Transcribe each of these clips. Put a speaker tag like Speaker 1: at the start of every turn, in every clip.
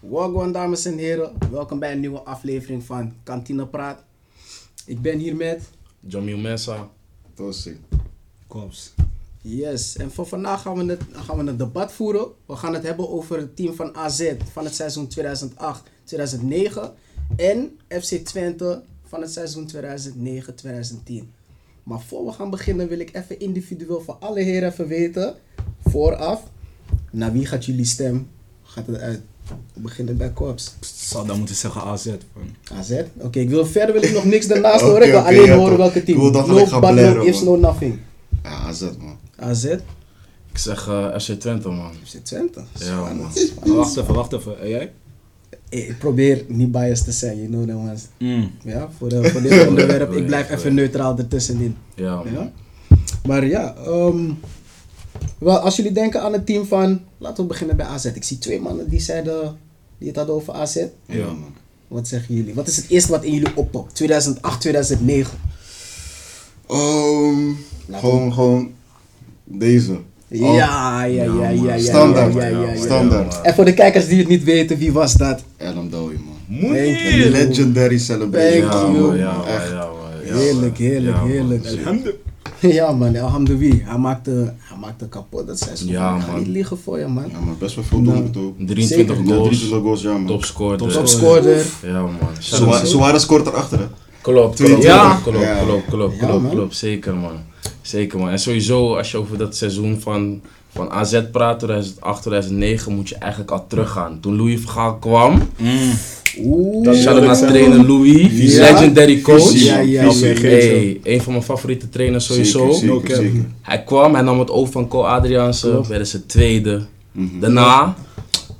Speaker 1: Wagwan, dames en heren. Welkom bij een nieuwe aflevering van Kantine Praat. Ik ben hier met...
Speaker 2: Jamil Mesa.
Speaker 3: Tossie.
Speaker 4: Kops.
Speaker 1: Yes, en voor vandaag gaan we, het, gaan we een debat voeren. We gaan het hebben over het team van AZ van het seizoen 2008-2009 en FC Twente van het seizoen 2009-2010. Maar voor we gaan beginnen wil ik even individueel van alle heren even weten, vooraf, naar wie gaat jullie stem? Gaat het uit? We beginnen bij Korps.
Speaker 4: Zou dan moeten zeggen AZ. man.
Speaker 1: AZ? Oké, ik wil, verder wil ik nog niks daarnaast
Speaker 3: Oké,
Speaker 1: horen. Ik wil
Speaker 3: oké,
Speaker 1: alleen
Speaker 3: ja,
Speaker 1: horen
Speaker 3: toch.
Speaker 1: welke team.
Speaker 3: Ik wil dan gelijk
Speaker 1: no
Speaker 3: gaan
Speaker 1: but no
Speaker 3: blerren,
Speaker 1: ifs, no
Speaker 3: man.
Speaker 1: nothing.
Speaker 3: Ja, AZ man.
Speaker 1: AZ,
Speaker 2: Ik zeg eh FC Twente, man.
Speaker 1: FC Twente.
Speaker 2: Ja, man. Oh,
Speaker 4: Wacht even, wacht even. En jij?
Speaker 1: Ik ik probeer niet biased te zijn, you know that ones.
Speaker 4: Mm.
Speaker 1: Ja, voor, de, voor dit onderwerp. Ik blijf
Speaker 2: Goeie,
Speaker 1: even neutraal ertussenin.
Speaker 2: Ja, man.
Speaker 1: Ja? Maar ja, ehm, wel, als jullie denken aan het team van... Laten we beginnen bij AZ. Ik zie twee mannen die, zeiden, die het hadden over AZ.
Speaker 3: Ja,
Speaker 2: Ja.
Speaker 3: man.
Speaker 1: Wat zeggen jullie? Wat is het eerste wat in jullie oppopt? 2008, 2009.
Speaker 3: Ehm,
Speaker 1: Laat
Speaker 3: gewoon, gewoon deze. Oh,
Speaker 1: Ja, ja, ja, ja,
Speaker 2: man.
Speaker 1: ja, ja.
Speaker 3: Standaard,
Speaker 1: ja, ja, ja, ja.
Speaker 3: standaard.
Speaker 2: Ja, man.
Speaker 1: En voor de kijkers die het niet weten, wie was dat?
Speaker 3: Adam Dowie man.
Speaker 1: Thank
Speaker 3: Een
Speaker 1: you.
Speaker 3: legendary celebration.
Speaker 1: Thank
Speaker 2: Ja,
Speaker 1: you.
Speaker 2: man. Ja, man.
Speaker 3: Echt.
Speaker 2: Ja, man. Ja, man.
Speaker 1: Heerlijk, heerlijk,
Speaker 2: Ja, man.
Speaker 1: heerlijk. Ja man, Alhamdulillah. Hij maakte, hij maakte kapot. Dat zijn ze.
Speaker 2: Ja,
Speaker 1: Ja, ik ga
Speaker 2: man.
Speaker 1: niet liegen voor je man.
Speaker 3: Ja, maar best wel veel doelpunten ook.
Speaker 2: 23
Speaker 1: Zeker.
Speaker 3: Ja,
Speaker 2: goals.
Speaker 3: 23 goals, ja man.
Speaker 2: Topscorer.
Speaker 1: Topscorer.
Speaker 2: Ja, man.
Speaker 3: Suwa- Suarez scoort erachter hè.
Speaker 2: Klopt, klopt,
Speaker 3: Ja.
Speaker 2: klopt, klopt,
Speaker 3: Ja.
Speaker 2: klopt, klopt,
Speaker 1: Ja,
Speaker 2: klopt,
Speaker 1: man.
Speaker 2: klopt, zeker man. Zeker man. En sowieso, als je over dat seizoen van, van AZ praat, 2008, 2009, moet je eigenlijk al teruggaan. Toen Louis van Gaal kwam,
Speaker 1: Oeh.
Speaker 2: dat shout-out naar trainer Louis,
Speaker 1: Ja.
Speaker 2: legendary coach.
Speaker 3: Visie,
Speaker 1: Ja, ja,
Speaker 3: visie.
Speaker 1: ja,
Speaker 2: Hey, een van mijn favoriete trainers sowieso.
Speaker 3: Zeker, zeker,
Speaker 4: No cap.
Speaker 3: zeker.
Speaker 2: Hij kwam, hij nam het over van Co Adriaanse,
Speaker 1: Klopt.
Speaker 2: werden ze tweede.
Speaker 3: Mhm.
Speaker 2: Daarna,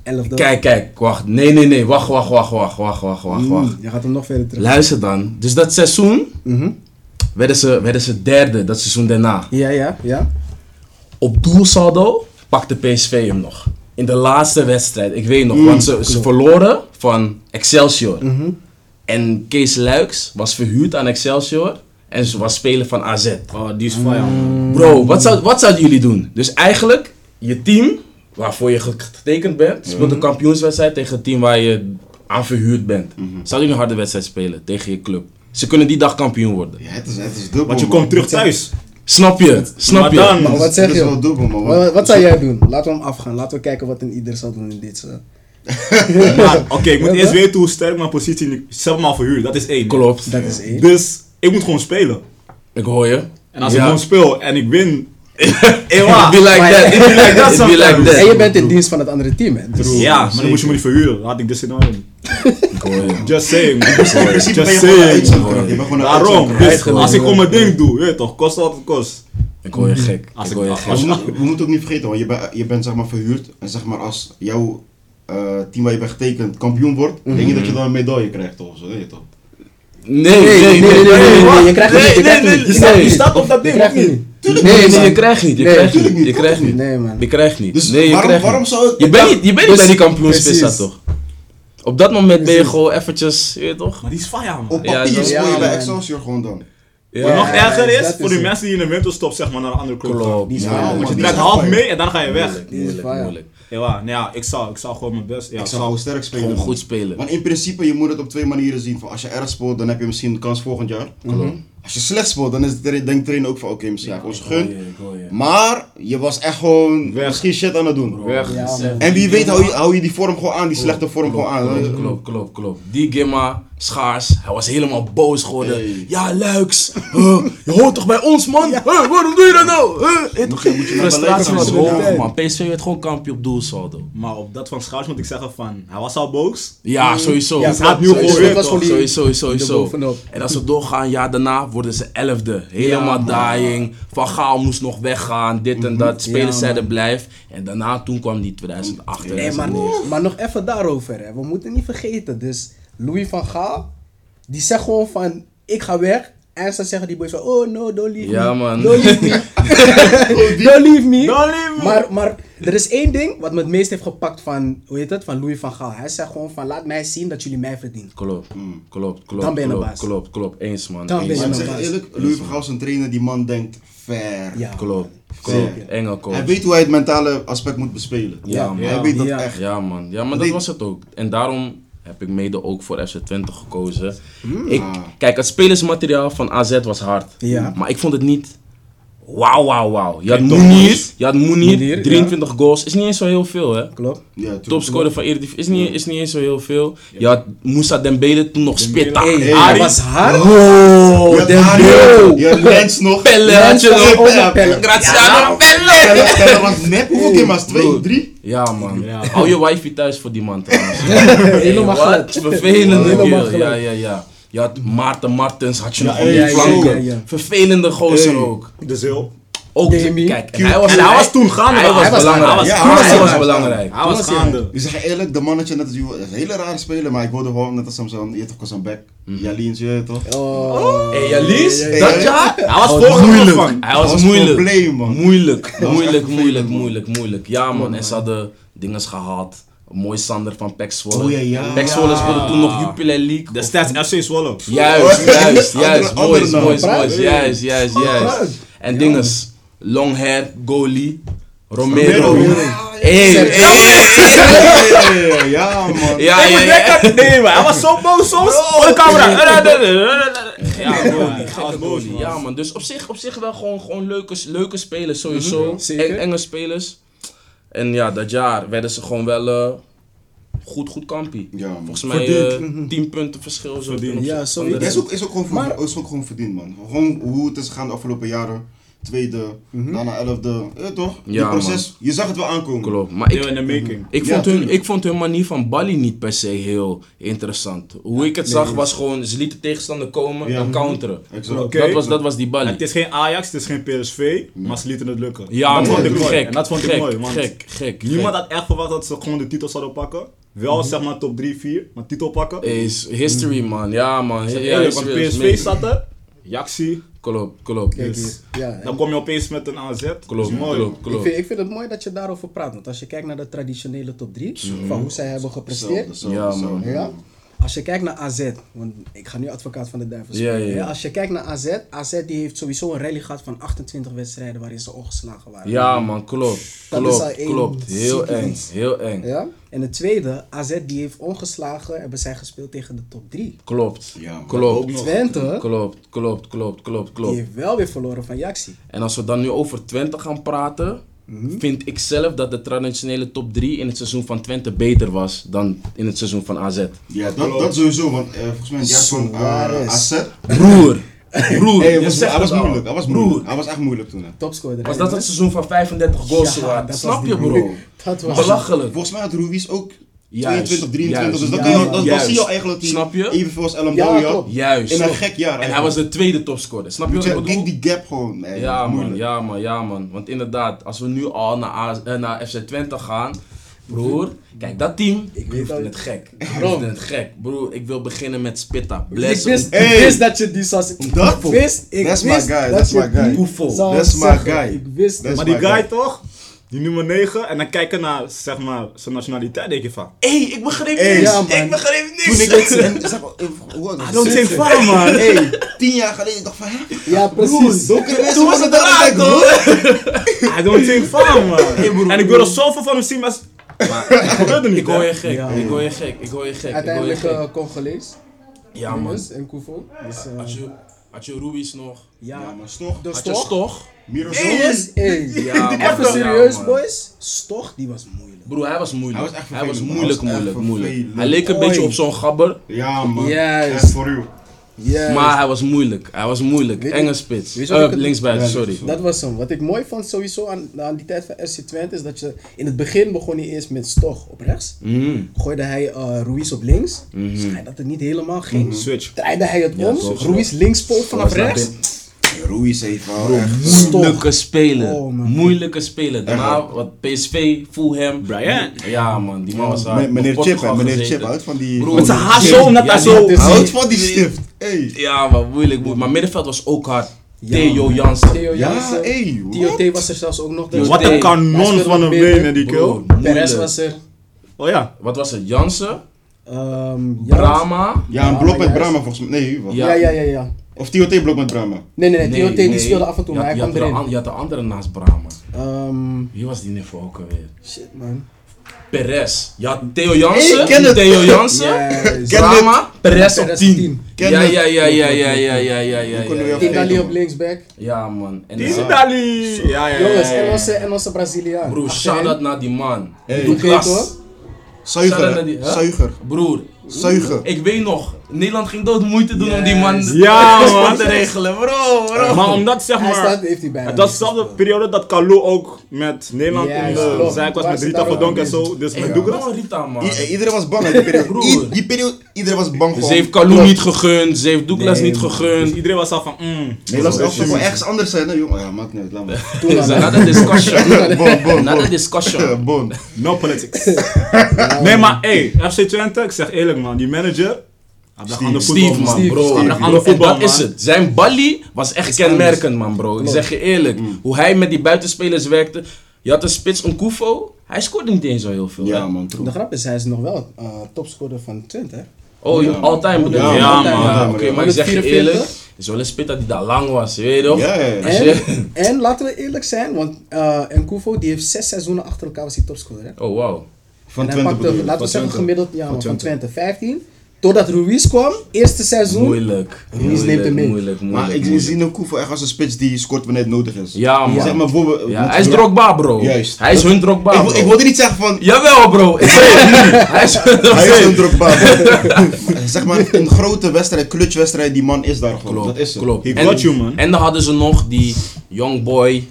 Speaker 1: Elfde.
Speaker 2: kijk, kijk, wacht, nee, nee, nee, wacht, wacht, wacht, wacht, wacht, wacht, wacht,
Speaker 1: Mm,
Speaker 2: wacht.
Speaker 1: Je gaat hem nog verder terug.
Speaker 2: Luister dan. Dus dat seizoen
Speaker 1: Mhm.
Speaker 2: werden ze, werden ze derde, dat seizoen daarna.
Speaker 1: Ja, ja, ja.
Speaker 2: Op doelsaldo pakte PSV hem nog. In de laatste wedstrijd, ik weet nog, want ze, ze verloren van Excelsior.
Speaker 1: Mhm.
Speaker 2: En Kees Luiks was verhuurd aan Excelsior en ze was speler van AZ.
Speaker 4: Oh, die is fire. man.
Speaker 2: Bro, wat, zou, wat zouden jullie doen? Dus eigenlijk, je team waarvoor je ge- getekend bent, speelt een kampioenswedstrijd tegen het team waar je aan verhuurd bent. Zou jullie een harde wedstrijd spelen tegen je club? Ze kunnen die dag kampioen worden.
Speaker 3: Ja, het is, het is dubbel
Speaker 4: Want je
Speaker 3: Oh, man.
Speaker 4: komt terug thuis.
Speaker 2: Snap je? Snap
Speaker 4: Maar
Speaker 2: je?
Speaker 4: dan-
Speaker 3: Het
Speaker 1: Maar
Speaker 3: is-
Speaker 1: wat zeg
Speaker 3: Het is wel
Speaker 1: je?
Speaker 3: dubbel man.
Speaker 1: Wat,
Speaker 3: want-
Speaker 1: wat zou jij doen? Laten we hem afgaan. Laten we kijken wat een ieder zal doen in dit. eh.
Speaker 4: Maar, Oké, ik moet
Speaker 1: Ja,
Speaker 4: eerst
Speaker 1: toch?
Speaker 4: weten hoe sterk mijn positie nu is. Zelf maar verhuur, dat is één.
Speaker 2: Klopt.
Speaker 1: Dat is één.
Speaker 4: Dus ik moet gewoon spelen.
Speaker 2: Ik hoor je.
Speaker 4: En als
Speaker 2: Ja.
Speaker 4: ik gewoon speel en ik win.
Speaker 2: It be like
Speaker 1: Maar-
Speaker 2: that. It be like that
Speaker 4: It be like
Speaker 2: sometimes.
Speaker 1: En je
Speaker 2: Hey,
Speaker 1: bent in dienst van het andere team, hè? Dus-
Speaker 4: Ja, maar dan moet je me niet verhuren. Laat ik dit scenario. doen.
Speaker 2: ik hoor je.
Speaker 4: Just saying.
Speaker 3: In principe ben je
Speaker 4: Just
Speaker 3: gewoon een
Speaker 4: saying.
Speaker 3: uitzendkracht. Je bent gewoon een
Speaker 4: Daarom,
Speaker 3: uitzendkracht.
Speaker 4: dus
Speaker 2: Gewoon,
Speaker 4: als ik
Speaker 2: gewoon.
Speaker 4: gewoon mijn ding doe, je weet toch, kost wat het kost.
Speaker 2: Ik hoor je gek.
Speaker 4: Als
Speaker 2: Ik
Speaker 4: ik-
Speaker 2: hoor je
Speaker 4: als-
Speaker 2: gek.
Speaker 3: Maar we, moeten- we moeten ook niet vergeten, want je, bent- je bent zeg maar verhuurd. En zeg maar als jouw eh, team waar je bent getekend kampioen wordt,
Speaker 2: Mhm.
Speaker 3: denk je dat je dan een medaille krijgt of zo, weet je toch?
Speaker 2: Nee,
Speaker 1: Nee, nee, nee, nee, nee, nee, je krijgt het niet, je krijgt het niet.
Speaker 2: Je
Speaker 1: Je
Speaker 2: staat
Speaker 1: staat-
Speaker 2: niet.
Speaker 1: je
Speaker 4: staat op dat
Speaker 1: Je
Speaker 4: ding,
Speaker 1: krijgt
Speaker 4: of
Speaker 1: het
Speaker 4: niet?
Speaker 2: Nee,
Speaker 1: niet.
Speaker 2: nee, nee, je
Speaker 1: man.
Speaker 2: krijgt niet. Je
Speaker 1: Nee,
Speaker 2: krijgt
Speaker 3: tuurlijk
Speaker 2: niet. Je
Speaker 3: niet,
Speaker 2: krijgt
Speaker 3: tuurlijk
Speaker 2: niet.
Speaker 1: Nee, man.
Speaker 2: Je krijgt niet.
Speaker 3: Dus
Speaker 2: Nee, je
Speaker 3: waarom,
Speaker 2: krijgt
Speaker 3: waarom
Speaker 2: niet.
Speaker 3: zou ik.
Speaker 2: Je bent niet, je bent niet bij die kampioenspissa
Speaker 1: Precies.
Speaker 2: toch? Op dat moment ben je
Speaker 1: Precies.
Speaker 2: gewoon eventjes, je weet toch?
Speaker 4: Maar die is fire, man.
Speaker 3: Op
Speaker 2: Ja,
Speaker 3: papier
Speaker 2: zo-
Speaker 3: speel je
Speaker 1: ja,
Speaker 3: bij
Speaker 1: man.
Speaker 3: Excelsior gewoon dan.
Speaker 2: Ja.
Speaker 4: Wat nog
Speaker 1: Ja,
Speaker 4: erger
Speaker 1: dat
Speaker 4: is,
Speaker 1: is
Speaker 4: voor die
Speaker 1: het.
Speaker 4: mensen die in de winter stopt, zeg maar, naar een andere club.
Speaker 2: Klopt.
Speaker 1: Die is
Speaker 2: Ja,
Speaker 1: fijn,
Speaker 2: man.
Speaker 3: want
Speaker 4: Je
Speaker 3: Die
Speaker 4: draait
Speaker 3: is
Speaker 4: half
Speaker 3: fijn.
Speaker 4: mee en dan ga je weg.
Speaker 2: Moeilijk,
Speaker 1: Die is
Speaker 2: moeilijk,
Speaker 1: fijn.
Speaker 2: moeilijk.
Speaker 4: Ja, nou ja, ik zou, ik zou gewoon mijn best. Ja,
Speaker 3: ik zou gewoon sterk spelen.
Speaker 2: Gewoon
Speaker 3: man.
Speaker 2: goed spelen.
Speaker 3: Want in principe, je moet het op twee manieren zien. Van als je erg speelt, dan heb je misschien een kans volgend jaar.
Speaker 2: Mhm.
Speaker 3: Als je slecht speelt, dan is de tra- denkt de trainer ook van oké, misschien heb ik ons
Speaker 2: Ik hoor
Speaker 3: gun.
Speaker 2: je, ik hoor je.
Speaker 3: Maar je was echt gewoon
Speaker 4: Weg.
Speaker 3: misschien shit aan het doen.
Speaker 4: Weg.
Speaker 1: Ja, man.
Speaker 3: En wie weet hou je, hou je die vorm gewoon aan, die slechte vorm gewoon
Speaker 2: Klopt,
Speaker 3: aan.
Speaker 2: klopt, klopt, klopt. Die Gimma, schaars, hij was helemaal boos geworden.
Speaker 3: Hey.
Speaker 2: Ja, Luiks, huh, je hoort toch bij ons, man? Huh, waarom doe je dat nou? Huh? Het-
Speaker 3: Moet je- moet je naar
Speaker 2: Frustratie
Speaker 3: beleid
Speaker 2: was
Speaker 3: gaan
Speaker 2: hoog,
Speaker 3: kijken.
Speaker 2: man. PSV werd gewoon kampioen op doelsaldo.
Speaker 4: Maar op dat van Schaars moet ik zeggen van, hij was al boos.
Speaker 2: Ja, sowieso.
Speaker 1: Mm. Ja,
Speaker 4: Ze gaat nu
Speaker 1: sowieso.
Speaker 4: gewoon
Speaker 1: Dat
Speaker 4: weer,
Speaker 1: was
Speaker 4: toch?
Speaker 1: gewoon die-
Speaker 2: Sowieso, sowieso.
Speaker 1: Erbovenop.
Speaker 2: En als ze doorgaan, ja, daarna worden ze elfde. Helemaal dying. Van Gaal moest nog weggaan, dit en dat. Spelers
Speaker 1: Mhm. Ja,
Speaker 2: zeiden blijf. En daarna, toen kwam die 2008.
Speaker 1: Nee, maar,
Speaker 2: 2009.
Speaker 1: maar nog even daarover. Hè. We moeten niet vergeten. Dus Louis van Gaal, die zegt gewoon van, ik ga weg. ernstig zeggen die boys van, oh no, don't leave me.
Speaker 2: Ja, man.
Speaker 1: Don't leave me. don't leave me.
Speaker 4: Don't leave me.
Speaker 1: Maar, maar er is één ding wat me het meest heeft gepakt van, hoe heet het, van Louis van Gaal. Hij zegt gewoon van, laat mij zien dat jullie mij verdienen.
Speaker 2: Klopt, klopt, klopt.
Speaker 1: Dan ben je een
Speaker 2: klopt,
Speaker 1: baas.
Speaker 2: Klopt, klopt. Eens, man.
Speaker 1: Dan
Speaker 2: Eens.
Speaker 1: ben je
Speaker 3: Maar ik
Speaker 1: een
Speaker 3: zeg
Speaker 1: baas.
Speaker 3: eerlijk, Louis van Gaal is een trainer die man denkt ver.
Speaker 1: Ja.
Speaker 2: Klopt, klopt.
Speaker 3: Zeker.
Speaker 2: Engel coach.
Speaker 3: Hij weet hoe hij het mentale aspect moet bespelen.
Speaker 2: Ja, man.
Speaker 3: Hij weet dat
Speaker 1: Ja.
Speaker 3: echt.
Speaker 2: Ja, man. Ja, maar dat
Speaker 3: Die-
Speaker 2: was het ook. En daarom heb ik mede ook voor FC Twente gekozen. Ik, kijk, het spelersmateriaal van AZ was hard.
Speaker 1: Ja.
Speaker 2: Maar ik vond het niet... Wauw, wauw, wauw. Je had
Speaker 3: Geen
Speaker 2: Moenier,
Speaker 3: topgoals.
Speaker 2: je had Moenier,
Speaker 1: Moenier, ja.
Speaker 2: 23 goals. Is niet eens zo heel veel, hè?
Speaker 1: Klopt?
Speaker 3: Ja, tuurlijk.
Speaker 2: Topscorer van Eredivisie is niet, is niet eens zo heel veel. Je had Moussa Dembele, toen nog Spitta.
Speaker 1: Hey,
Speaker 2: Hey,
Speaker 1: hij
Speaker 2: Arie.
Speaker 1: was hard.
Speaker 3: Je
Speaker 1: Oh,
Speaker 3: hebt
Speaker 1: damn.
Speaker 3: Mario, je hebt Lens nog.
Speaker 2: Pelle,
Speaker 3: Lens
Speaker 2: had je
Speaker 3: nog.
Speaker 2: nog.
Speaker 3: Ja, Pelle.
Speaker 2: Graziano Pelle!
Speaker 3: Pelle, Pelle was nep. Hoeveel keer was? Twee, drie?
Speaker 2: Ja, man.
Speaker 4: Ja.
Speaker 2: Hou je wifi thuis voor die man trouwens.
Speaker 1: Helemaal
Speaker 2: Hey,
Speaker 1: glad.
Speaker 2: wat Vervelende
Speaker 1: Helemaal
Speaker 2: kerel. Ja,
Speaker 1: glad.
Speaker 2: ja, ja. Je had Maarten Martens, had je nog
Speaker 3: Ja,
Speaker 2: op die
Speaker 3: ja, ja,
Speaker 2: flanken.
Speaker 1: ja, ja.
Speaker 2: Vervelende gozer
Speaker 3: Hey.
Speaker 2: ook.
Speaker 4: De ziel.
Speaker 2: Ook,
Speaker 1: Jamie.
Speaker 2: kijk, en hij was,
Speaker 4: En hij was toen gaande,
Speaker 2: Hij
Speaker 4: man.
Speaker 2: was
Speaker 4: Hij was
Speaker 2: belangrijk.
Speaker 4: gaande.
Speaker 2: Ja,
Speaker 3: Hij was
Speaker 2: Hij was
Speaker 3: gaande.
Speaker 2: belangrijk.
Speaker 4: Hij was gaande.
Speaker 3: Ik zeg je eerlijk, de mannetje net als jou, dat is een hele rare speler, maar ik wilde gewoon net als hem zo'n, je hebt toch wel zo'n back.
Speaker 2: Mm.
Speaker 3: Jalien, je weet toch?
Speaker 1: Oh.
Speaker 2: Hé, Jalies,
Speaker 3: ja,
Speaker 2: dat
Speaker 3: ja.
Speaker 2: ja?
Speaker 4: Hij was voorganger van.
Speaker 2: Hij was,
Speaker 3: was een
Speaker 2: moeilijk.
Speaker 3: probleem, man.
Speaker 2: Moeilijk, moeilijk,
Speaker 3: echt
Speaker 2: moeilijk,
Speaker 3: vervelend, man.
Speaker 2: moeilijk, moeilijk. Ja, man. En ze hadden dingen gehaald. Mooi Sander van Pek Zwolle.
Speaker 3: Oh, ja, ja.
Speaker 2: Pek Zwolle
Speaker 4: Ja.
Speaker 2: speelde toen nog Jupiler League.
Speaker 4: De stats FC Zwolle.
Speaker 2: Juist, juist, juist.
Speaker 3: Andere-
Speaker 2: Boys,
Speaker 3: andere
Speaker 2: boys,
Speaker 1: naam.
Speaker 2: boys. Juist, juist,
Speaker 1: Praat.
Speaker 2: juist. En dinges. Long hair, goalie. Romero.
Speaker 3: Romero.
Speaker 2: Hey, hey, hey.
Speaker 3: Ja, ja, man.
Speaker 2: Ja, ja, ja.
Speaker 4: Nee, oh, maar hij was zo boos soms. Voor de camera. Ja,
Speaker 2: Goalie,
Speaker 4: hij
Speaker 2: gekke
Speaker 4: was boos.
Speaker 2: goalie.
Speaker 4: man.
Speaker 2: Ja, man. Dus op zich, op zich wel gewoon, gewoon leuke, leuke spelers sowieso.
Speaker 1: Zeker.
Speaker 2: En enge spelers. En ja, dat jaar werden ze gewoon wel eh, goed, goed kampie.
Speaker 3: Ja, man.
Speaker 2: Volgens mij
Speaker 4: Verdiend.
Speaker 2: eh, 10 punten verschil. Zo ten opzichte
Speaker 1: Ja,
Speaker 2: van
Speaker 1: sorry.
Speaker 2: de
Speaker 3: Dat
Speaker 2: rest.
Speaker 3: is ook, is ook, gewoon, maar, is ook gewoon verdiend, man. Gewoon hoe het is gegaan de afgelopen jaren. Tweede, daarna elfde. Ja, toch?
Speaker 2: Ja,
Speaker 3: Die proces, je zag het wel aankomen.
Speaker 2: Klopt. Maar
Speaker 4: They
Speaker 2: ik,
Speaker 4: were in the making.
Speaker 2: Ik,
Speaker 3: Ja,
Speaker 2: vond hun,
Speaker 3: tuurlijk.
Speaker 2: ik vond hun manier van Bali niet per se heel interessant. Hoe ik het zag was gewoon, ze lieten tegenstander komen
Speaker 3: Ja.
Speaker 2: en counteren.
Speaker 3: Exact.
Speaker 4: Oké.
Speaker 2: Dat, was, dat was die Bali.
Speaker 4: Het is geen Ajax, het is geen PSV, maar ze lieten het lukken.
Speaker 2: Ja,
Speaker 4: dat
Speaker 2: man,
Speaker 4: vond ik
Speaker 2: gek,
Speaker 4: mooi. En dat vond ik
Speaker 2: gek,
Speaker 4: mooi, want
Speaker 2: gek, gek, Mhm.
Speaker 4: Niemand
Speaker 2: gek.
Speaker 4: had echt verwacht dat ze gewoon de titel zouden pakken. Wel zeg maar top 3, 4, maar titel pakken.
Speaker 2: Is history, man. Ja, man. Ja,
Speaker 4: Eerlijk, Mm. want
Speaker 2: serieus,
Speaker 4: PSV
Speaker 2: meen-
Speaker 4: zat er, Jaxi,
Speaker 2: Klopt, klopt.
Speaker 1: Kijk hier.
Speaker 4: Yes.
Speaker 1: Ja,
Speaker 4: dan kom je opeens met een AZ. Dat
Speaker 2: Klopt,
Speaker 4: is mooi.
Speaker 2: klopt,
Speaker 1: Ik
Speaker 2: klopt.
Speaker 1: vind, ik vind het mooi dat je daarover praat. Want als je kijkt naar de traditionele top 3, van hoe zij hebben
Speaker 3: Hetzelfde,
Speaker 1: gepresteerd.
Speaker 3: hetzelfde,
Speaker 2: Ja, man.
Speaker 3: hetzelfde.
Speaker 1: Ja, als je kijkt naar AZ, want ik ga nu advocaat van de duivel
Speaker 2: Ja,
Speaker 1: spelen.
Speaker 2: ja, ja.
Speaker 1: hè. Als je kijkt naar AZ, AZ die heeft sowieso een rally gehad van 28 wedstrijden waarin ze ongeslagen waren.
Speaker 2: Ja, man, klopt.
Speaker 1: Dat is al
Speaker 2: Klopt,
Speaker 1: één
Speaker 2: klopt. Heel
Speaker 1: zieke
Speaker 2: eng,
Speaker 1: iets.
Speaker 2: heel eng.
Speaker 1: Ja? En het tweede, AZ die heeft ongeslagen, hebben zij gespeeld tegen de top 3.
Speaker 2: Klopt,
Speaker 3: Ja, man.
Speaker 2: klopt.
Speaker 1: Twente,
Speaker 2: Klopt, klopt, klopt, klopt,
Speaker 1: die
Speaker 2: klopt.
Speaker 1: heeft wel weer verloren van Jaxi.
Speaker 2: En als we dan nu over Twente gaan praten,
Speaker 3: Mhm.
Speaker 2: vind ik zelf dat de traditionele top 3 in het seizoen van Twente beter was dan in het seizoen van AZ.
Speaker 3: Ja, dat, dat sowieso, want eh, volgens mij in het jaar van
Speaker 1: Suarez.
Speaker 3: eh AZ.
Speaker 2: Broer, broer,
Speaker 3: Hey,
Speaker 2: je
Speaker 3: was,
Speaker 2: zegt
Speaker 3: hij was
Speaker 2: het al.
Speaker 3: moeilijk, hij was
Speaker 2: Broer.
Speaker 3: moeilijk. Hij was echt moeilijk toen. hè.
Speaker 1: Topscorer.
Speaker 2: Was dat het seizoen van 35 goals?
Speaker 1: Ja,
Speaker 2: waard?
Speaker 1: dat was
Speaker 2: Snap
Speaker 1: die
Speaker 2: je bro?
Speaker 1: broer. Dat was
Speaker 2: Belachelijk.
Speaker 3: Volgens mij had Ruiz ook
Speaker 2: Juist,
Speaker 3: 22, 23, dus
Speaker 2: juist,
Speaker 3: dat, kan je,
Speaker 1: juist,
Speaker 3: dat, dat
Speaker 2: juist.
Speaker 3: zie je al eigenlijk dat hij
Speaker 2: Snap je?
Speaker 3: evenveel als El
Speaker 1: Ja,
Speaker 3: Amdawi had.
Speaker 1: klopt.
Speaker 2: Juist.
Speaker 3: In een
Speaker 2: klopt.
Speaker 3: gek jaar
Speaker 2: En hij
Speaker 3: eigenlijk.
Speaker 2: was de tweede topscorer. Snap je
Speaker 3: Moet
Speaker 2: wat ik
Speaker 3: je-
Speaker 2: bedoel?
Speaker 3: Kijk die gap gewoon. nee,
Speaker 2: Ja man,
Speaker 3: moeilijk.
Speaker 2: ja man, ja man. Want inderdaad, als we nu al naar, AS eh, naar FC Twente gaan, broer, kijk dat team, ik
Speaker 1: weet
Speaker 2: vind
Speaker 1: al-
Speaker 2: het gek. Ik vind het gek. Broer, ik wil beginnen met Spitta,
Speaker 1: Ik
Speaker 2: Bless,
Speaker 1: wist,
Speaker 3: Hey.
Speaker 1: ik wist dat je die zou zeggen.
Speaker 3: Dat-
Speaker 1: Ik wist, ik
Speaker 3: That's my
Speaker 1: wist
Speaker 3: guy,
Speaker 1: dat
Speaker 3: that's
Speaker 1: je
Speaker 3: my guy.
Speaker 1: die
Speaker 2: Oefel.
Speaker 1: zou
Speaker 3: That's my
Speaker 1: zeggen.
Speaker 3: guy.
Speaker 1: Ik wist
Speaker 3: That's
Speaker 1: het.
Speaker 4: Maar die
Speaker 3: my
Speaker 4: guy
Speaker 3: guy.
Speaker 4: toch, die nummer 9, en dan kijken naar zeg maar, zijn nationaliteit, denk je van.
Speaker 2: Hé, hey, ik begreep
Speaker 3: Hey,
Speaker 2: niks.
Speaker 1: ja, man.
Speaker 2: ik begreep
Speaker 3: Toen ik
Speaker 2: niks.
Speaker 3: het en zeg maar, eh,
Speaker 2: Ah,
Speaker 3: hoe oud was
Speaker 4: I
Speaker 3: ik?
Speaker 4: don't think
Speaker 3: Zestien.
Speaker 4: far, man.
Speaker 3: Hey, tien jaar geleden, ik dacht van, hè?
Speaker 1: Ja, precies.
Speaker 3: Donkere mensen
Speaker 2: Toen was
Speaker 3: worden
Speaker 2: het
Speaker 3: daar
Speaker 2: raar,
Speaker 3: gek, broer.
Speaker 2: hoor.
Speaker 4: I don't think van, man. En ik wil er zoveel van hem zien, maar het gebeurde niet.
Speaker 2: Ik hoor je
Speaker 4: hè.
Speaker 2: gek,
Speaker 1: Ja,
Speaker 2: ik hoor je gek, ik hoor je gek, ik hoor je
Speaker 1: Uiteindelijk
Speaker 2: gek.
Speaker 1: eh, Congolees.
Speaker 2: Ja man,
Speaker 1: Ruiz en Koevo. Dus, eh,
Speaker 2: had je, had je Ruiz nog?
Speaker 3: Ja,
Speaker 1: ja,
Speaker 3: maar Stoch,
Speaker 1: de
Speaker 2: Had je
Speaker 1: Stoch.
Speaker 2: Stoch?
Speaker 3: Miroslav.
Speaker 1: Yes, hey.
Speaker 2: Ja, man.
Speaker 1: Even
Speaker 2: Ja,
Speaker 1: serieus,
Speaker 2: man.
Speaker 1: boys. Stoch, die was moeilijk.
Speaker 2: Broer, hij was moeilijk.
Speaker 3: Hij was echt
Speaker 2: hij was
Speaker 3: vervelend, man.
Speaker 2: moeilijk,
Speaker 3: Hij was echt
Speaker 2: moeilijk, moeilijk.
Speaker 3: vervelend.
Speaker 2: Hij leek een
Speaker 1: Oei.
Speaker 2: beetje op zo'n gabber,
Speaker 3: Ja, man.
Speaker 1: Juist.
Speaker 3: Echt voor u.
Speaker 1: Yes.
Speaker 2: maar hij was moeilijk. Hij was moeilijk.
Speaker 1: Weet je-
Speaker 2: Enge spits.
Speaker 1: weet je wat
Speaker 2: Eh,
Speaker 1: ik het-
Speaker 2: Linksbuiten,
Speaker 3: Ja,
Speaker 2: sorry.
Speaker 1: Dat was hem. Wat ik mooi vond sowieso aan, aan die tijd van FC Twente is dat je in het begin begon hij eerst met Stoch op rechts.
Speaker 2: Mm.
Speaker 1: Gooide hij eh Ruiz op links.
Speaker 2: Mhm.
Speaker 1: Schijnt dat het niet helemaal ging.
Speaker 4: Switch.
Speaker 1: Draaide hij het om.
Speaker 2: zo is het.
Speaker 1: Ruiz linkspoot vanaf
Speaker 2: Was dat
Speaker 1: rechts.
Speaker 2: bin-
Speaker 3: Ruiz heeft wel echt...
Speaker 2: Moeilijke speler.
Speaker 1: Oh, man.
Speaker 2: Moeilijke speler. Daarna
Speaker 3: Echt
Speaker 2: wat PSV, Fulham.
Speaker 4: Brian.
Speaker 2: Ja man, die man was daar.
Speaker 3: Me- meneer
Speaker 2: op
Speaker 3: Chip,
Speaker 2: Portugal
Speaker 3: hè, meneer
Speaker 2: gezeten.
Speaker 3: Chip, houdt van die-
Speaker 2: Broer,
Speaker 3: Met zijn
Speaker 4: haar
Speaker 2: Chip,
Speaker 4: zo, omdat
Speaker 2: ja,
Speaker 4: hij
Speaker 2: die-
Speaker 4: zo-
Speaker 2: die-
Speaker 3: Houd van die stift. Hey.
Speaker 2: Ja man, moeilijk broer. Maar middenveld was ook hard. Theo
Speaker 1: man.
Speaker 2: Jansen.
Speaker 1: Theo
Speaker 3: Ja,
Speaker 1: Jansen.
Speaker 3: ey,
Speaker 1: TOT
Speaker 3: wat?
Speaker 1: was er zelfs ook nog. Dus
Speaker 2: Wat
Speaker 4: Wat
Speaker 2: Hey,
Speaker 4: een kanon van een been, hè, die
Speaker 2: Broer,
Speaker 4: kill.
Speaker 1: Perez
Speaker 2: moeilijk.
Speaker 1: was er.
Speaker 4: Oh ja.
Speaker 2: Wat was het? Jansen,
Speaker 1: ehm, Jans.
Speaker 2: Brahma.
Speaker 3: Ja, een
Speaker 1: Ja,
Speaker 3: blok met
Speaker 1: juist.
Speaker 3: Brahma volgens mij. Nee, wacht.
Speaker 1: Ja,
Speaker 2: Ja.
Speaker 1: ja, ja, ja.
Speaker 3: Of TOT blok met Brahma.
Speaker 1: Nee, nee, nee. TOT die
Speaker 2: nee.
Speaker 1: speelde af en toe,
Speaker 2: Je
Speaker 1: maar hij
Speaker 2: had-
Speaker 1: kwam
Speaker 2: je had de
Speaker 1: erin.
Speaker 2: an- Je had de andere naast Brahma.
Speaker 1: Ehm,
Speaker 2: Wie was die niveau ook alweer?
Speaker 1: shit, man.
Speaker 2: Perez. Je had Theo Jansen.
Speaker 3: Ik ken het.
Speaker 2: Theo Jansen.
Speaker 1: Yes.
Speaker 3: Ken
Speaker 2: Brahma. Perez op
Speaker 1: Perez
Speaker 2: 10.
Speaker 1: tien.
Speaker 3: Ken
Speaker 2: Ja,
Speaker 3: het.
Speaker 2: ja, ja, ja, ja, ja, ja, ja, ja,
Speaker 3: Hoe kunnen we
Speaker 2: ja.
Speaker 3: jou vergeten,
Speaker 1: Italië op
Speaker 3: man?
Speaker 1: linksback.
Speaker 2: Ja, man. En
Speaker 4: Die is
Speaker 2: dan-
Speaker 4: Italië. Ja, ja, ja,
Speaker 1: Jongens,
Speaker 4: ja.
Speaker 1: en onze, en onze Braziliaan.
Speaker 2: Broer,
Speaker 1: Achterin.
Speaker 2: shout-out naar die man.
Speaker 3: Hey.
Speaker 2: Die
Speaker 1: Vergeet,
Speaker 2: klas.
Speaker 1: hoor.
Speaker 3: Zuiger,
Speaker 2: Shout-out naar die-
Speaker 3: hè?
Speaker 2: hè?
Speaker 3: zuiger,
Speaker 2: Broer,
Speaker 3: zuiger.
Speaker 2: ik weet nog, Nederland ging dood moeite doen om die man
Speaker 4: Ja,
Speaker 2: de-
Speaker 4: man.
Speaker 2: te regelen. Bro, bro.
Speaker 4: Maar omdat zeg
Speaker 1: Hij staat,
Speaker 4: maar.
Speaker 1: heeft hij bijna.
Speaker 4: Dat is dezelfde periode dat Kalou ook met Nederland
Speaker 1: Ja,
Speaker 4: in
Speaker 1: ja,
Speaker 4: de
Speaker 1: klopt.
Speaker 4: zaak was
Speaker 1: Waar
Speaker 4: met
Speaker 1: ze
Speaker 4: Rita
Speaker 1: daar
Speaker 4: Verdonk en
Speaker 1: ook
Speaker 4: zo. Dus met
Speaker 2: Hey,
Speaker 4: Douglas.
Speaker 2: man, Rita, man.
Speaker 3: I- iedereen was bang uit die periode.
Speaker 2: Broer.
Speaker 3: I- die periode, iedereen was bang
Speaker 2: Ze
Speaker 3: gewoon.
Speaker 2: heeft Kalou niet gegund, ze heeft Douglas niet
Speaker 4: Dus
Speaker 2: gegund.
Speaker 4: iedereen was al van. Mm.
Speaker 3: Nederlands elftal kon ergens anders zijn, hè jongen. Ja, maakt niet uit, laat maar.
Speaker 1: Toen
Speaker 2: It's
Speaker 1: aan de-
Speaker 2: another discussion.
Speaker 3: Bon, bon,
Speaker 2: Another
Speaker 3: bon.
Speaker 2: discussion.
Speaker 3: Bon.
Speaker 4: No politics. nee, maar hey, FC Twente, ik zeg eerlijk man, die manager. Hij bracht aan de voetbal.
Speaker 2: Steve, man, bro.
Speaker 4: Hij bracht
Speaker 2: Bro,
Speaker 4: aan de
Speaker 2: en
Speaker 4: voetbal.
Speaker 2: dat is
Speaker 4: man.
Speaker 2: het. Zijn balie was echt kenmerkend, man, bro. Ik zeg je eerlijk.
Speaker 3: Mm.
Speaker 2: Hoe hij met die buitenspelers werkte. Je had een spits, een Koufo. Hij scoorde niet eens zo heel veel. hè?
Speaker 3: Ja man,
Speaker 1: De
Speaker 3: true.
Speaker 1: grap is, hij is nog wel eh, topscorer van Twente. hè?
Speaker 2: Oh, je all-time bedoel je?
Speaker 3: Ja,
Speaker 2: Ja,
Speaker 1: man.
Speaker 2: man.
Speaker 3: Ja,
Speaker 2: Oké,
Speaker 3: man.
Speaker 2: maar ik zeg je
Speaker 1: 144.
Speaker 2: eerlijk. Het is wel een spit dat hij daar lang was, je weet je toch?
Speaker 3: Ja, ja, ja.
Speaker 2: Als je-
Speaker 1: En, en laten we eerlijk zijn, want eh Nkuvo die heeft zes seizoenen achter elkaar was hij topscorer. Hè?
Speaker 2: Oh, wauw.
Speaker 3: Van
Speaker 1: en hij
Speaker 3: Twente
Speaker 1: pakte,
Speaker 3: bedoel je?
Speaker 1: laten we
Speaker 2: Van
Speaker 1: zeggen,
Speaker 2: Twente.
Speaker 1: gemiddeld ja,
Speaker 2: Van
Speaker 1: man, van
Speaker 2: Twente.
Speaker 1: Twente 15. Totdat Ruiz kwam, eerste seizoen.
Speaker 2: Moeilijk.
Speaker 1: Ruiz neemt hem mee.
Speaker 2: Moeilijk, moeilijk.
Speaker 3: Maar ik
Speaker 2: moeilijk.
Speaker 3: zie Nkoufo echt als een spits die scoort wanneer het nodig is.
Speaker 2: Ja, man.
Speaker 3: Zeg maar, bijvoorbeeld-
Speaker 2: Ja, hij is Drogba, bro.
Speaker 3: Juist.
Speaker 2: Hij is hun
Speaker 3: Ik,
Speaker 2: Drogba,
Speaker 3: wil-
Speaker 2: bro.
Speaker 3: ik wilde niet zeggen van...
Speaker 2: Jawel, bro. Ik weet het niet. Hij is hun Drogba.
Speaker 3: Hij is een drukbaar. zeg maar, een grote wedstrijd, clutchwedstrijd, die man is daar gewoon.
Speaker 2: Klopt,
Speaker 3: dat is het.
Speaker 2: klopt.
Speaker 4: He got you, man.
Speaker 2: En dan hadden ze nog die young boy,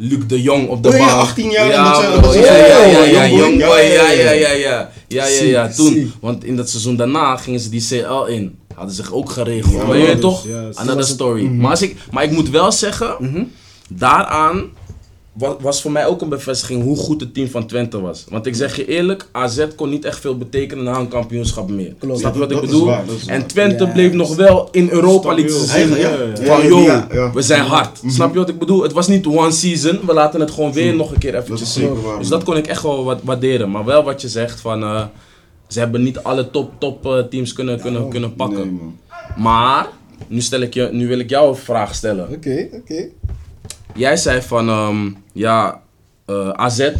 Speaker 2: Luc de Jong op de
Speaker 3: Oh ja,
Speaker 2: bank.
Speaker 3: 18 jaar en
Speaker 2: Ja,
Speaker 3: dat zijn-
Speaker 2: bro,
Speaker 3: dat zijn-
Speaker 2: ja, ja, ja,
Speaker 3: ja,
Speaker 2: ja,
Speaker 3: young
Speaker 2: young
Speaker 3: boy.
Speaker 2: boy, ja,
Speaker 3: Ja,
Speaker 2: ja,
Speaker 3: ja,
Speaker 2: ja, ja. Ja, ja, ja,
Speaker 1: Zie,
Speaker 2: toen.
Speaker 1: zie.
Speaker 2: Want in dat seizoen daarna gingen ze die CL in. Hadden zich ook geregeld.
Speaker 3: Ja, Mhm.
Speaker 2: maar je weet
Speaker 4: dus,
Speaker 2: toch?
Speaker 4: ja, zo
Speaker 2: Another story. maar, als ik, maar ik moet wel zeggen, daaraan wa- was voor mij ook een bevestiging hoe goed het team van Twente was. Want ik zeg je eerlijk, AZ kon niet echt veel betekenen na een kampioenschap meer.
Speaker 1: Klopt.
Speaker 2: Snap je
Speaker 3: Ja,
Speaker 2: wat ik
Speaker 3: dat is
Speaker 2: bedoel?
Speaker 3: waar, dat is waar.
Speaker 2: En Twente
Speaker 1: Ja.
Speaker 2: bleef nog wel in Europa League te
Speaker 4: Stabiel.
Speaker 2: zien.
Speaker 3: Eigen- ja, ja, ja,
Speaker 2: Van,
Speaker 3: ja,
Speaker 2: yo,
Speaker 3: ja, ja. Mhm.
Speaker 2: we zijn hard. Snap je wat ik bedoel? Het was niet one season. We laten het gewoon weer nog een keer
Speaker 3: Dat is
Speaker 2: eventjes zien.
Speaker 3: zeker waar.
Speaker 2: Dus dat kon ik echt wel wat waarderen. Maar wel wat je zegt van... eh, ze hebben niet alle top, top eh, teams kunnen, kunnen, kunnen pakken.
Speaker 3: Nee, man.
Speaker 2: maar, nu, stel ik je, nu wil ik jou een vraag stellen.
Speaker 1: Oké, oké.
Speaker 2: Jij zei van... ehm, ja, eh, AZ...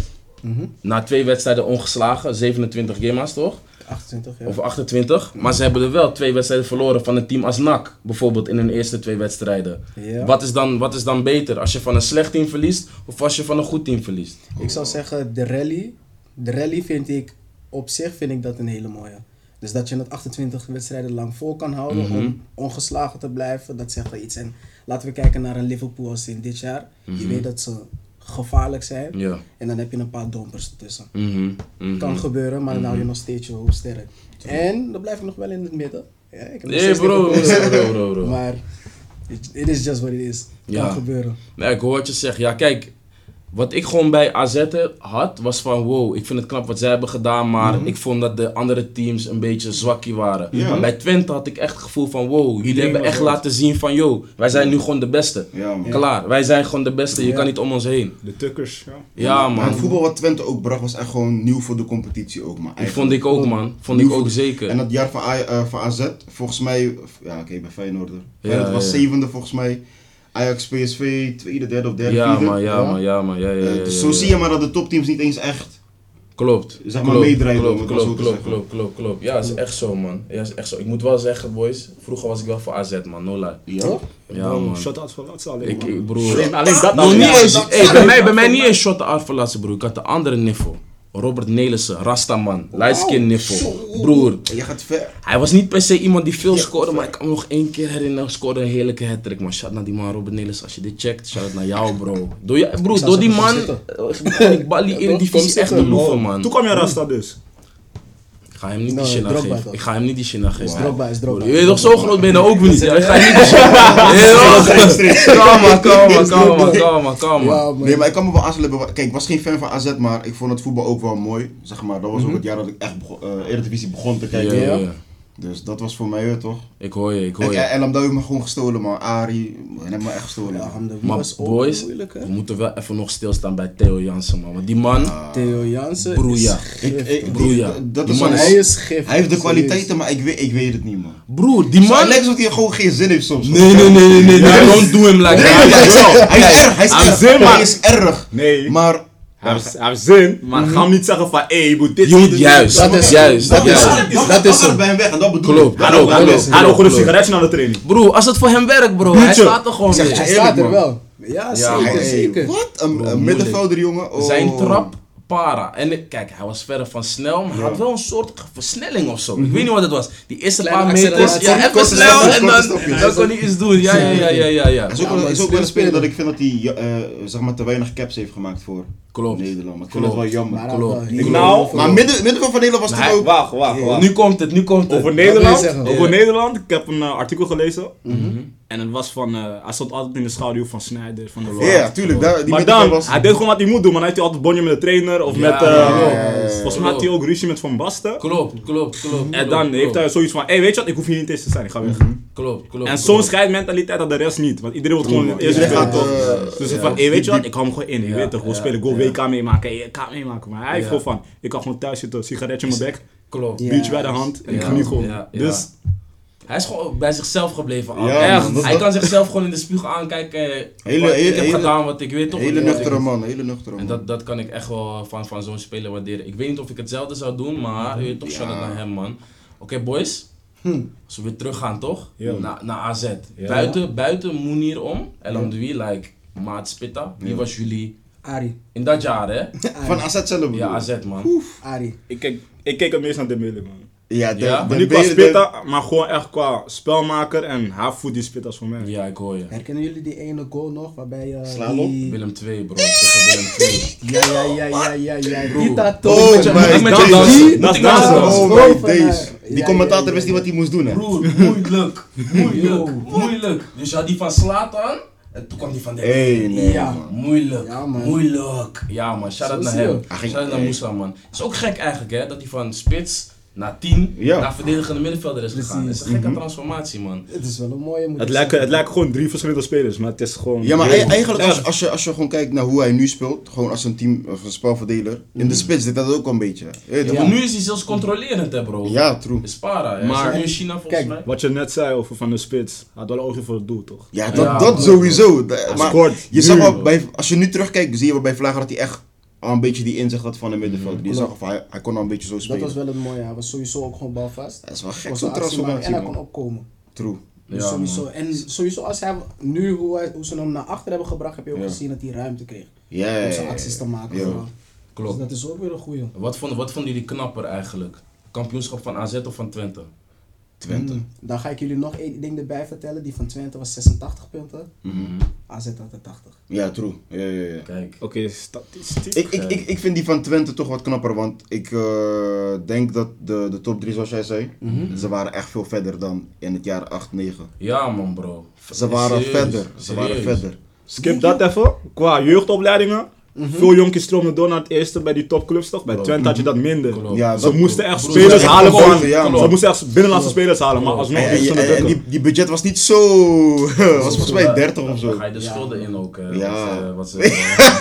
Speaker 3: Mhm.
Speaker 2: Na twee wedstrijden ongeslagen, 27 games toch?
Speaker 1: 28, ja.
Speaker 2: Of 28. Maar ze hebben er wel twee wedstrijden verloren van een team als NAC. Bijvoorbeeld in hun eerste twee wedstrijden.
Speaker 1: Ja.
Speaker 2: Wat, is dan, wat is dan beter? Als je van een slecht team verliest of als je van een goed team verliest?
Speaker 1: Ik zou zeggen, de rally. De rally vind ik op zich vind ik dat een hele mooie. Dus dat je het 28 wedstrijden lang vol kan houden
Speaker 2: Mhm.
Speaker 1: om ongeslagen te blijven, dat zegt wel iets. En laten we kijken naar een Liverpool als in dit jaar. Je weet dat ze gevaarlijk zijn.
Speaker 2: Mhm. Ja.
Speaker 1: En dan heb je een paar dompers ertussen.
Speaker 2: Mhm, mhm.
Speaker 1: Kan gebeuren, maar dan hou je nog steeds je hoofd sterk. En dan blijf ik nog wel in het midden. Ja, ik heb nog
Speaker 2: Nee,
Speaker 1: steeds
Speaker 2: bro,
Speaker 1: Liverpool.
Speaker 2: bro, bro, bro, bro.
Speaker 1: Maar it, it is just what it is. Kan
Speaker 2: Ja.
Speaker 1: gebeuren.
Speaker 2: Nee, ik hoor wat je zegt. Ja, kijk. Wat ik gewoon bij AZ heb- had, was van wow, ik vind het knap wat zij hebben gedaan, maar ik vond dat de andere teams een beetje zwakkie waren.
Speaker 3: Mhm. Ja.
Speaker 2: Maar bij Twente had ik echt het gevoel van wow, jullie hebben
Speaker 4: was
Speaker 2: echt
Speaker 4: dat.
Speaker 2: laten zien van yo, wij zijn nu gewoon de beste.
Speaker 3: Ja, man.
Speaker 2: Klaar, wij zijn gewoon de beste, je kan niet om ons heen.
Speaker 4: De Tukkers. Ja.
Speaker 2: Ja
Speaker 3: Maar
Speaker 2: man,
Speaker 3: het voetbal wat Twente ook bracht was echt gewoon nieuw voor de competitie ook. Maar
Speaker 2: Ik vond ik ook, man. Vond ik
Speaker 3: Nieuw
Speaker 2: ook
Speaker 3: voet-
Speaker 2: zeker.
Speaker 3: En dat jaar van, A- eh, van AZ, volgens mij, ja oké, bij Feyenoord.
Speaker 2: Ja,
Speaker 3: Feyenoord was
Speaker 2: ja.
Speaker 3: zevende volgens mij. Ajax, PSV, tweede, derde of derde,
Speaker 2: Ja,
Speaker 3: vierde.
Speaker 2: man, ja, man, ja, man. Ja, ja,
Speaker 3: Eh,
Speaker 2: ja,
Speaker 3: dus
Speaker 2: ja,
Speaker 3: zo
Speaker 2: ja.
Speaker 3: zie je maar dat de topteams niet eens echt...
Speaker 2: Klopt.
Speaker 3: Zeg maar
Speaker 2: klopt,
Speaker 3: meedrijven,
Speaker 2: Klopt,
Speaker 3: om het maar
Speaker 2: klopt,
Speaker 3: zo te
Speaker 2: klopt,
Speaker 3: zeggen.
Speaker 2: klopt, klopt, klopt. Ja, is echt zo, man. Ja, is echt zo. Ik moet wel zeggen, boys. Vroeger was ik wel voor AZ, man. No lie.
Speaker 1: Toch?
Speaker 2: Ja, man.
Speaker 4: Shut-out voor laatste alleen.
Speaker 2: Ik,
Speaker 4: man.
Speaker 2: ik broer.
Speaker 4: Alleen- alleen dat
Speaker 2: Nog
Speaker 4: al,
Speaker 2: niet
Speaker 4: ja.
Speaker 2: eens. Hey, bij, mij, bij mij niet eens shot uit verlaten, broer. Ik had de andere niffel. Robert Nelissen, Rastaman, Lightskin niffel. Broer,
Speaker 3: Je gaat ver.
Speaker 2: hij was niet per se iemand die veel scoorde, maar ik kan me nog één keer herinneren. hij Scoorde een heerlijke hat man. Shout naar die man, Robert Nelissen. Als je dit checkt, shout naar jou, bro. Door je, broer, door die man.
Speaker 1: zeggen,
Speaker 2: eh, begon Ik balie in
Speaker 1: toch?
Speaker 2: die
Speaker 1: Kom
Speaker 2: divisie echt
Speaker 1: zitten,
Speaker 2: de loeven,
Speaker 4: Toen
Speaker 2: man.
Speaker 4: kwam je Rasta dus.
Speaker 2: Ik ga hem niet die
Speaker 1: Nee,
Speaker 2: shit aan
Speaker 1: Drogba
Speaker 2: geven.
Speaker 1: toch?
Speaker 2: Ik ga hem niet die shit aan geven.
Speaker 1: Is Drogba, is Drogba.
Speaker 2: Je weet toch, zo groot ben je nou ook weer niet. Ja, ik ga hem niet die shit Je weet toch? Kalm maar, kalm maar, kalm maar, kalm maar, kalm maar.
Speaker 1: Ja, man.
Speaker 3: Nee, maar ik kan me wel aansluiten. bij- Kijk, ik was geen fan van AZ, maar ik vond het voetbal ook wel mooi. Zeg maar, dat was ook het jaar dat ik echt begon, eh, Eredivisie begon te kijken.
Speaker 2: Mhm. Ja, ja, ja.
Speaker 3: Dus dat was voor mij het, toch?
Speaker 2: Ik hoor je, ik hoor
Speaker 3: En,
Speaker 2: je.
Speaker 3: en Lamdou heeft me gewoon gestolen, man. Ari, hij heeft me echt gestolen.
Speaker 1: Ja, Hamdan, die
Speaker 2: Maar
Speaker 1: was ook
Speaker 2: boys,
Speaker 1: moeilijk, hè?
Speaker 2: we moeten wel even nog stilstaan bij Theo Jansen, man. Want die man,
Speaker 1: Theo Jansen. Ah. is
Speaker 2: broeia.
Speaker 3: Ik- ik- die-
Speaker 2: Broeia.
Speaker 3: Dat
Speaker 2: Die
Speaker 3: is
Speaker 2: man
Speaker 3: een-
Speaker 1: Hij is gif.
Speaker 3: Hij heeft de
Speaker 1: serieus.
Speaker 3: kwaliteiten, maar ik weet, ik weet het niet, man.
Speaker 2: Broer, die
Speaker 3: Maar
Speaker 2: man...
Speaker 3: het lijkt alsof hij gewoon geen zin heeft soms.
Speaker 2: Nee, nee, nee, nee, nee.
Speaker 3: Ja.
Speaker 2: Don't do him like
Speaker 3: Hij is
Speaker 2: that.
Speaker 3: erg, hij is erg, hij is
Speaker 2: aan
Speaker 3: erg.
Speaker 2: zin,
Speaker 3: Hij
Speaker 2: maar-
Speaker 3: is erg.
Speaker 4: Nee.
Speaker 3: Maar
Speaker 4: Hij heeft- hij heeft zin, maar ga hem niet zeggen van, hé, je moet dit
Speaker 2: Je
Speaker 4: niet
Speaker 2: moet
Speaker 4: doen.
Speaker 2: juist, dat is juist, dat
Speaker 3: dat is
Speaker 2: is
Speaker 3: hem.
Speaker 2: hem.
Speaker 3: Dat is hem. bij hem weg en dat bedoel ik.
Speaker 2: Klopt.
Speaker 3: Dat-
Speaker 4: Hij loopt- hij
Speaker 2: Hallo,
Speaker 4: loopt- Hij loopt gewoon een
Speaker 2: hallo.
Speaker 4: sigaretje naar de training.
Speaker 2: Broer, als het voor hem werkt, bro. Hij
Speaker 4: Doetje.
Speaker 2: staat er gewoon
Speaker 3: zeg je
Speaker 1: Hij
Speaker 2: weer.
Speaker 3: eerlijk,
Speaker 1: staat er
Speaker 3: man.
Speaker 1: wel. Ja,
Speaker 2: Ja,
Speaker 1: zeker.
Speaker 3: Hey,
Speaker 1: zeker.
Speaker 3: Wat? Een, een middenvelder, jongen. Oh.
Speaker 2: Zijn trap, para. En ik- kijk, hij was verder van snel, maar hij had wel een soort versnelling of zo. Ik weet niet wat het was. Die eerste
Speaker 1: Kleine
Speaker 2: paar meters,
Speaker 1: acceleratie.
Speaker 2: ja, even
Speaker 3: Korte
Speaker 2: snel
Speaker 3: stapjes,
Speaker 2: en
Speaker 3: korte
Speaker 2: dan,
Speaker 3: stapjes.
Speaker 2: dan kon hij iets doen. Ja, ja, ja, ja, ja. ja.
Speaker 3: Het is ook,
Speaker 1: Ja,
Speaker 3: wel-
Speaker 1: maar
Speaker 3: is ook
Speaker 1: slim
Speaker 3: wel een speler
Speaker 1: speler.
Speaker 3: dat ik vind dat hij eh, zeg maar, te weinig caps heeft gemaakt voor
Speaker 2: Klopt.
Speaker 3: Nederland. Maar ik vind het wel
Speaker 2: Klopt.
Speaker 3: jammer.
Speaker 1: Maar
Speaker 3: Maar,
Speaker 1: hij had wel
Speaker 2: Klopt.
Speaker 1: heel
Speaker 4: Ik nou,
Speaker 1: veel-
Speaker 3: midden, middenveld van Nederland was
Speaker 2: Maar
Speaker 3: toch
Speaker 2: hij-
Speaker 3: ook...
Speaker 4: Wacht, wacht, wacht.
Speaker 2: Nu komt het, nu komt het.
Speaker 4: Over
Speaker 1: Wat
Speaker 4: Nederland,
Speaker 1: wil je zeggen?
Speaker 4: over
Speaker 2: Ja.
Speaker 4: Nederland. Ik heb een eh, artikel gelezen.
Speaker 2: Mhm.
Speaker 3: Mhm.
Speaker 4: En het was van, eh, hij stond altijd in de schaduw van Snyder, van de
Speaker 3: Ja,
Speaker 4: Loire.
Speaker 3: yeah, tuurlijk. Daar, die
Speaker 4: maar
Speaker 3: middenveld
Speaker 4: dan,
Speaker 3: was...
Speaker 4: hij deed gewoon wat hij moet doen, maar dan heeft hij altijd bonje met de trainer of
Speaker 2: Ja,
Speaker 4: met...
Speaker 2: ja,
Speaker 4: eh,
Speaker 3: ja, ja, ja.
Speaker 4: Volgens mij had hij ook ruzie met Van Basten.
Speaker 2: Klopt, klopt, klopt.
Speaker 4: En dan heeft hij zoiets van, hé hey, weet je wat, ik hoef hier niet eens te zijn, ik ga weg.
Speaker 3: Mhm.
Speaker 2: Klopt, klopt.
Speaker 4: En
Speaker 2: klopt.
Speaker 4: zo'n scheidmentaliteit had de rest niet, want iedereen wil gewoon het eerste
Speaker 3: Iedereen
Speaker 4: spelen
Speaker 3: gaat,
Speaker 4: toch.
Speaker 3: eh,
Speaker 4: Dus
Speaker 3: ja.
Speaker 4: van, hé weet je wat, ik hou hem gewoon in, je
Speaker 2: Ja,
Speaker 4: weet toch, gewoon
Speaker 2: ja,
Speaker 4: spelen, go
Speaker 2: ja.
Speaker 4: WK meemaken, hey, K meemaken. Maar hij heeft
Speaker 2: Ja.
Speaker 4: gewoon van, ik kan gewoon thuis zitten, sigaretje in mijn bek,
Speaker 2: Klopt.
Speaker 1: Ja.
Speaker 4: biertje bij de hand, en ik
Speaker 2: Ja,
Speaker 4: geniet gewoon.
Speaker 2: ja, ja.
Speaker 4: Dus,
Speaker 2: Hij is gewoon bij zichzelf gebleven.
Speaker 3: Ja,
Speaker 2: al.
Speaker 3: man,
Speaker 2: Echt.
Speaker 3: dat-
Speaker 2: hij
Speaker 3: dat-
Speaker 2: kan zichzelf gewoon in de spiegel aankijken. eh,
Speaker 3: Hele-
Speaker 2: wat ik
Speaker 3: hele-
Speaker 2: heb
Speaker 3: hele-
Speaker 2: gedaan wat ik weet toch.
Speaker 3: Hele
Speaker 2: wat ik-
Speaker 3: nuchtere man, hele nuchtere man.
Speaker 2: En dat, dat kan ik echt wel van, van zo'n speler waarderen. Ik weet niet of ik hetzelfde zou doen, maar je weet toch shout-out naar hem, man. Oké, boys.
Speaker 3: Hm.
Speaker 2: Als we weer teruggaan, toch?
Speaker 4: Ja.
Speaker 2: Na, naar AZ. Buiten, buiten Moenier om. El Amdoui, like Maat Spitta. Wie was jullie
Speaker 1: Ari.
Speaker 2: in dat jaar, hè?
Speaker 3: Van AZ zelf bedoel
Speaker 2: Ja,
Speaker 3: ik.
Speaker 2: AZ, man.
Speaker 1: Ari.
Speaker 4: ik kijk, ik kijk het meest naar Dembele man.
Speaker 3: Ja, de,
Speaker 2: Ja.
Speaker 3: de
Speaker 4: Maar niet qua
Speaker 3: benen-
Speaker 4: spitta, maar gewoon echt qua spelmaker en haar voet die spit als voor mij.
Speaker 2: Ja, ik hoor je.
Speaker 1: Herkennen jullie die ene goal nog? Waarbij eh,
Speaker 3: Slaan
Speaker 1: die...
Speaker 2: Willem 2, bro. Tegen Willem 2.
Speaker 1: Ja, ja, ja, ja, ja, ja.
Speaker 2: Broer.
Speaker 1: Die
Speaker 3: Oh,
Speaker 1: tatoe.
Speaker 3: my
Speaker 2: Moet ik met jou
Speaker 3: days.
Speaker 2: dansen?
Speaker 4: Dat
Speaker 2: Moet
Speaker 4: is
Speaker 2: ik met jou
Speaker 4: dansen.
Speaker 2: dansen?
Speaker 3: Oh
Speaker 1: Dat is
Speaker 3: my
Speaker 1: boven, eh,
Speaker 3: days.
Speaker 1: ja,
Speaker 3: Die
Speaker 1: ja,
Speaker 3: commentator
Speaker 1: ja,
Speaker 3: wist niet wat hij moest doen, hè.
Speaker 2: Broer, moeilijk. Moeilijk, moeilijk. Dus je had die van Slatan en toen kwam die van Dembele.
Speaker 3: Hey, nee,
Speaker 1: Ja.
Speaker 3: man.
Speaker 2: Moeilijk,
Speaker 1: Ja, man.
Speaker 2: moeilijk. Ja man, shout-out
Speaker 1: Zo
Speaker 2: naar
Speaker 1: zie je.
Speaker 2: hem.
Speaker 3: Hij ging-
Speaker 2: Shout-out naar
Speaker 3: hey.
Speaker 2: Moussa man. Het is ook gek eigenlijk hè, dat hij van spits naar 10
Speaker 3: Ja. Mhm.
Speaker 2: naar verdedigende middenvelder is gegaan. Het is een gekke transformatie man.
Speaker 1: Het is wel een mooie, moet
Speaker 4: Het
Speaker 1: ik
Speaker 4: lijken,
Speaker 1: zeggen.
Speaker 4: het lijken gewoon drie verschillende spelers, maar het is gewoon...
Speaker 3: Ja, maar
Speaker 4: Heel-
Speaker 3: ei- eigenlijk als,
Speaker 4: Echt.
Speaker 3: als, je, als je gewoon kijkt naar hoe hij nu speelt, gewoon als een team of een spelverdeler,
Speaker 2: Mm.
Speaker 3: in de spits deed dat ook wel een beetje. Ja,
Speaker 2: Ja, maar nu is hij zelfs controlerend hè bro.
Speaker 3: ja true.
Speaker 2: Is para hè.
Speaker 4: Maar-
Speaker 2: Maar, nu in China volgens
Speaker 1: Kijk,
Speaker 2: mij.
Speaker 4: Wat je net zei over van de spits, hij had wel ogen voor het doel toch?
Speaker 3: Ja, dat,
Speaker 2: Ja,
Speaker 3: dat
Speaker 2: man.
Speaker 3: sowieso. Da- maar
Speaker 4: scoort
Speaker 3: je zag
Speaker 4: nu.
Speaker 3: wel bij, als je nu terugkijkt, zie je wel bij Vlager dat hij echt al een beetje die inzicht had van de middenvelder. Die zag, van, hij, hij kon al een beetje zo
Speaker 1: Dat
Speaker 3: spelen.
Speaker 1: was wel het mooie. Hij was sowieso ook gewoon balvast.
Speaker 3: Dat is wel gek,
Speaker 1: Was
Speaker 3: zo'n
Speaker 1: een actie maken
Speaker 3: transformatie,
Speaker 1: En hij
Speaker 3: man.
Speaker 1: kon opkomen.
Speaker 3: True.
Speaker 1: Dus
Speaker 2: Ja,
Speaker 1: sowieso. En sowieso als hij nu, hoe, hij, hoe ze hem naar achter hebben gebracht, heb je ook gezien dat hij ruimte kreeg.
Speaker 3: Ja, ja,
Speaker 1: Om
Speaker 3: ja,
Speaker 1: zijn acties
Speaker 3: ja.
Speaker 1: te maken.
Speaker 3: Ja.
Speaker 1: gewoon. Dus
Speaker 2: Klopt.
Speaker 1: dat is ook weer een goeie.
Speaker 2: Wat vonden, wat vonden jullie knapper eigenlijk? Kampioenschap van AZ of van Twente?
Speaker 3: Twente.
Speaker 1: Mm. Dan ga ik jullie nog één ding erbij vertellen. Die van Twente was 86 punten.
Speaker 3: Mhm.
Speaker 1: AZ had er 80.
Speaker 3: Ja, true. Ja, ja, ja.
Speaker 2: Kijk.
Speaker 4: Oké, statistiek.
Speaker 3: Ik, ik, ik, ik vind die van Twente toch wat knapper, want ik eh, denk dat de, de top 3, zoals jij zei,
Speaker 1: Mhm.
Speaker 3: ze waren echt veel verder dan in het jaar 8, 9.
Speaker 2: Ja man bro.
Speaker 3: Ze waren
Speaker 2: Serieus,
Speaker 3: verder. Ze waren
Speaker 2: serieus.
Speaker 3: verder.
Speaker 4: Skip dat even. Qua jeugdopleidingen.
Speaker 3: Mhm.
Speaker 4: Veel jonkies stroomden door naar het eerste bij die topclubs toch? Bij Twente had je dat minder.
Speaker 2: Klopt.
Speaker 1: Oh.
Speaker 3: Ja,
Speaker 4: ze
Speaker 3: Mhm. dat-
Speaker 4: moesten echt
Speaker 2: Broer,
Speaker 4: spelers
Speaker 2: ze
Speaker 4: halen
Speaker 3: moesten
Speaker 4: gewoon.
Speaker 3: echt ja,
Speaker 4: ze
Speaker 3: klopt.
Speaker 4: moesten echt binnenlandse spelers halen, maar alsnog
Speaker 3: En, en-
Speaker 4: moesten ze
Speaker 3: en- en
Speaker 4: drukken.
Speaker 3: die, die budget was niet zo. was volgens mij 30 of
Speaker 2: Dan
Speaker 3: zo.
Speaker 2: ga je de schulden in ook. eh,
Speaker 3: Ja.
Speaker 2: wat ze-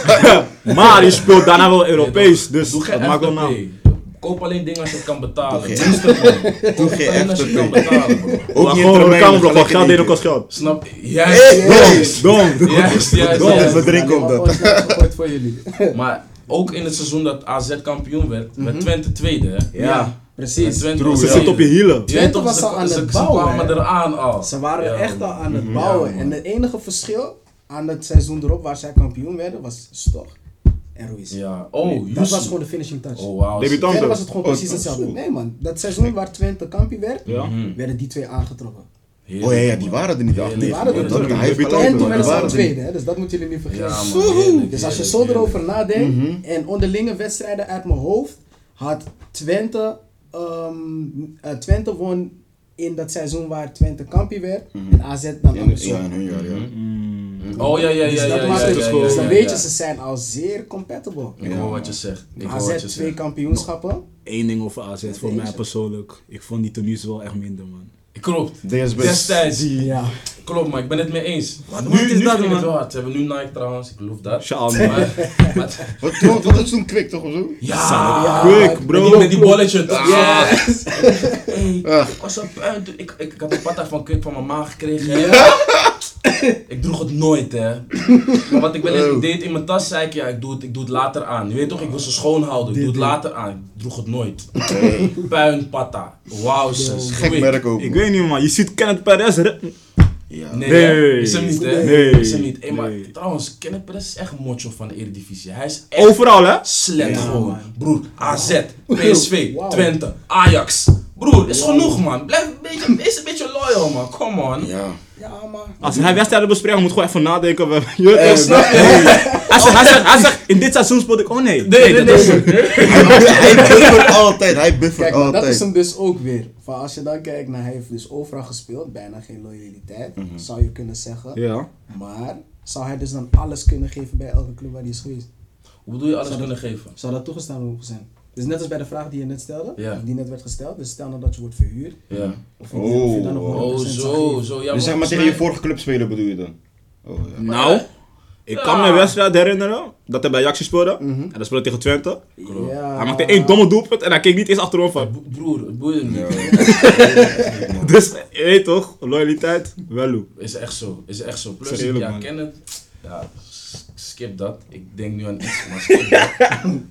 Speaker 2: Wat ze,
Speaker 4: Maar die speelt daarna wel Europees, dus
Speaker 2: doe
Speaker 4: dat
Speaker 2: geen
Speaker 4: maakt wel naam.
Speaker 2: FTP. Koop alleen dingen als je het kan betalen.
Speaker 3: Doe geen-
Speaker 2: Minstens, man. Koop
Speaker 3: geen
Speaker 2: alleen als je het kan
Speaker 3: FTP.
Speaker 2: betalen, bro.
Speaker 4: Maar
Speaker 3: in
Speaker 4: gewoon
Speaker 3: termijnen,
Speaker 4: reclameblok, want
Speaker 3: gelijk in
Speaker 4: geld deed
Speaker 3: één
Speaker 4: ook als geld.
Speaker 2: Snap je? Juist, juist.
Speaker 4: Dom.
Speaker 2: Juist, juist,
Speaker 4: Dom.
Speaker 2: juist.
Speaker 3: We drinken op dat.
Speaker 1: Goed voor jullie.
Speaker 2: Maar ook in het seizoen dat AZ kampioen werd, werd Twente tweede, hè?
Speaker 4: Ja.
Speaker 1: Precies.
Speaker 2: Twente
Speaker 3: Mhm. True,
Speaker 2: was
Speaker 4: Ze
Speaker 3: ja.
Speaker 4: zit
Speaker 2: tweede.
Speaker 4: op je hielen.
Speaker 2: Je weet
Speaker 1: Twente
Speaker 2: toch,
Speaker 1: was
Speaker 2: ze-
Speaker 1: al aan
Speaker 2: ze-
Speaker 1: het
Speaker 2: ze
Speaker 1: bouwen,
Speaker 2: kwamen
Speaker 1: hè.
Speaker 2: eraan al.
Speaker 1: Ze waren
Speaker 2: Ja,
Speaker 1: echt al aan
Speaker 3: Mhm.
Speaker 1: het bouwen. en het enige verschil aan het seizoen erop waar zij kampioen werden was Stor en Ruiz.
Speaker 2: Ja. Oh,
Speaker 1: Dat was
Speaker 2: Jussi.
Speaker 1: gewoon de finishing touch.
Speaker 2: Oh, wauw.
Speaker 4: Debutant.
Speaker 1: Verder was het gewoon
Speaker 3: Oh,
Speaker 1: precies
Speaker 3: dat is
Speaker 1: hetzelfde.
Speaker 3: goed. Mhm.
Speaker 1: Nee man, dat seizoen waar Twente kampioen werd,
Speaker 4: Ja.
Speaker 1: werden die twee aangetrokken.
Speaker 2: Heerlijk,
Speaker 3: Oh ja, ja,
Speaker 2: man.
Speaker 3: die waren er niet. Ach, nee,
Speaker 1: Die waren er
Speaker 3: dat-
Speaker 1: toen.
Speaker 3: hij heeft
Speaker 4: Debutanten,
Speaker 3: gelijk,
Speaker 1: En toen
Speaker 3: man.
Speaker 1: werden
Speaker 3: Die
Speaker 1: ze al
Speaker 3: waren er niet.
Speaker 1: tweede, hè, dus dat moeten jullie niet vergeten.
Speaker 2: Ja, man,
Speaker 1: Woehoe!
Speaker 2: heerlijk,
Speaker 1: dus als je zo
Speaker 2: heerlijk,
Speaker 3: Mhm.
Speaker 1: erover nadenkt en onderlinge wedstrijden uit mijn hoofd, had Twente eh, ehm, eh, Twente won in dat seizoen waar Twente kampioen werd. En AZ dan
Speaker 3: Mhm. Ja,
Speaker 1: andersom.
Speaker 3: ja, in hun jaar, ja.
Speaker 2: Oh ja, ja, ja.
Speaker 1: Dus
Speaker 2: ja,
Speaker 1: dat
Speaker 2: ja,
Speaker 1: maakt
Speaker 2: ja,
Speaker 1: het.
Speaker 2: ja,
Speaker 1: dus
Speaker 2: ja,
Speaker 1: dan
Speaker 2: ja,
Speaker 1: weet
Speaker 2: ja.
Speaker 1: je, ze zijn al zeer compatible.
Speaker 2: Ik hoor wat je zegt. Ik hoor wat je
Speaker 1: AZ twee
Speaker 2: zegt.
Speaker 1: kampioenschappen.
Speaker 4: Eén ding over AZ, voor
Speaker 1: Deze.
Speaker 4: mij persoonlijk. Ik vond die tenues wel echt minder, man.
Speaker 2: Klopt.
Speaker 3: DSB.
Speaker 2: Destijds.
Speaker 1: Ja.
Speaker 2: Klopt, maar ik ben het mee eens. Maar
Speaker 4: wat
Speaker 2: nu
Speaker 4: is
Speaker 2: is
Speaker 4: dat,
Speaker 2: dat het
Speaker 4: man?
Speaker 2: wel hard. Ze hebben nu Nike trouwens, ik geloof dat.
Speaker 4: Sjaal, man.
Speaker 2: Maar, maar-
Speaker 3: Wat, wat, wat is toen kwik toch of zo?
Speaker 2: ja,
Speaker 4: Quick,
Speaker 2: met
Speaker 4: bro.
Speaker 2: die, met die bolletje.
Speaker 3: Ah.
Speaker 2: toch? Ja. Hey,
Speaker 3: Ugh.
Speaker 2: ik was zo puin. Ik, ik, ik had een patta van kwik van mijn ma gekregen. hè. Ik droeg het nooit, hè. Maar wat ik wel eens
Speaker 3: Oh.
Speaker 2: deed in mijn tas, zei ik, ja, ik doe het, ik doe het later aan. Je weet toch, ik wil ze schoon houden. Ik doe het later aan. Ik droeg het nooit. Puin, patta. Wauw, zus.
Speaker 3: Gek merk ook.
Speaker 4: Ik weet niet, man. Je ziet Kenneth Perez. re-
Speaker 3: Ja.
Speaker 2: Nee,
Speaker 4: Nee.
Speaker 2: hè? is hem niet, hè?
Speaker 4: Nee.
Speaker 2: Is hem niet. Hey, maar
Speaker 4: Nee.
Speaker 2: trouwens, Kenneth Perez is echt een mocho van de Eredivisie. Hij is echt
Speaker 4: Overal, hè?
Speaker 2: slet
Speaker 1: Ja,
Speaker 2: gewoon.
Speaker 1: man.
Speaker 2: Broer, AZ, PSV,
Speaker 1: Wauw.
Speaker 2: Twente, Ajax. Broer, is genoeg, man. Blijf een beetje, is een beetje loyal, man. Come on.
Speaker 3: Ja.
Speaker 1: Ja, maar.
Speaker 4: Als hij wedstrijden bespreken, moet gewoon even nadenken. we- Je weet
Speaker 3: Eh,
Speaker 4: toch, snap je? Hij zegt- hij zegt- Hij zegt, in dit seizoen speelde ik... Oh nee.
Speaker 2: Nee, nee,
Speaker 4: dat
Speaker 2: nee.
Speaker 4: is-
Speaker 3: Hij buffert altijd, hij buffert
Speaker 1: Kijk, maar dat is
Speaker 3: altijd.
Speaker 1: hem dus ook weer. Van als je dan kijkt naar hij heeft dus overal gespeeld, bijna geen loyaliteit,
Speaker 3: Mhm.
Speaker 1: zou je kunnen zeggen.
Speaker 4: Ja.
Speaker 1: Maar zou hij dus dan alles kunnen geven bij elke club waar hij is geweest?
Speaker 2: Hoe bedoel je alles kunnen geven?
Speaker 1: Zou dat toegestaan mogen zijn? Dus net als bij de vraag die je net stelde,
Speaker 2: Ja.
Speaker 1: die net werd gesteld. Dus stel nou dat je wordt verhuurd,
Speaker 2: Ja.
Speaker 1: of je, die- of je dan nog
Speaker 3: Oh,
Speaker 1: 100%
Speaker 2: Oh,
Speaker 1: zou
Speaker 2: zo,
Speaker 1: geven.
Speaker 2: zo. Ja,
Speaker 3: Dus zeg maar
Speaker 2: volgens
Speaker 3: tegen je
Speaker 2: mij-
Speaker 3: vorige club spelen bedoel je dan? Oh ja.
Speaker 4: Nou, ik kan me een wedstrijd herinneren dat hij bij Ajax speelde. En dat speelde tegen Twente.
Speaker 1: Ja.
Speaker 4: Hij maakte één domme doelpunt en hij keek niet eens achterom van.
Speaker 2: Bo- Broer, het boeit hem niet.
Speaker 4: Dus, je weet toch, loyaliteit, wel hoe.
Speaker 2: Is echt zo, is echt zo. Plus,
Speaker 4: Zeg eerlijk,
Speaker 2: ja,
Speaker 4: man.
Speaker 2: Kenneth, ja, s- skip dat. Ik denk nu aan iets, maar skip dat.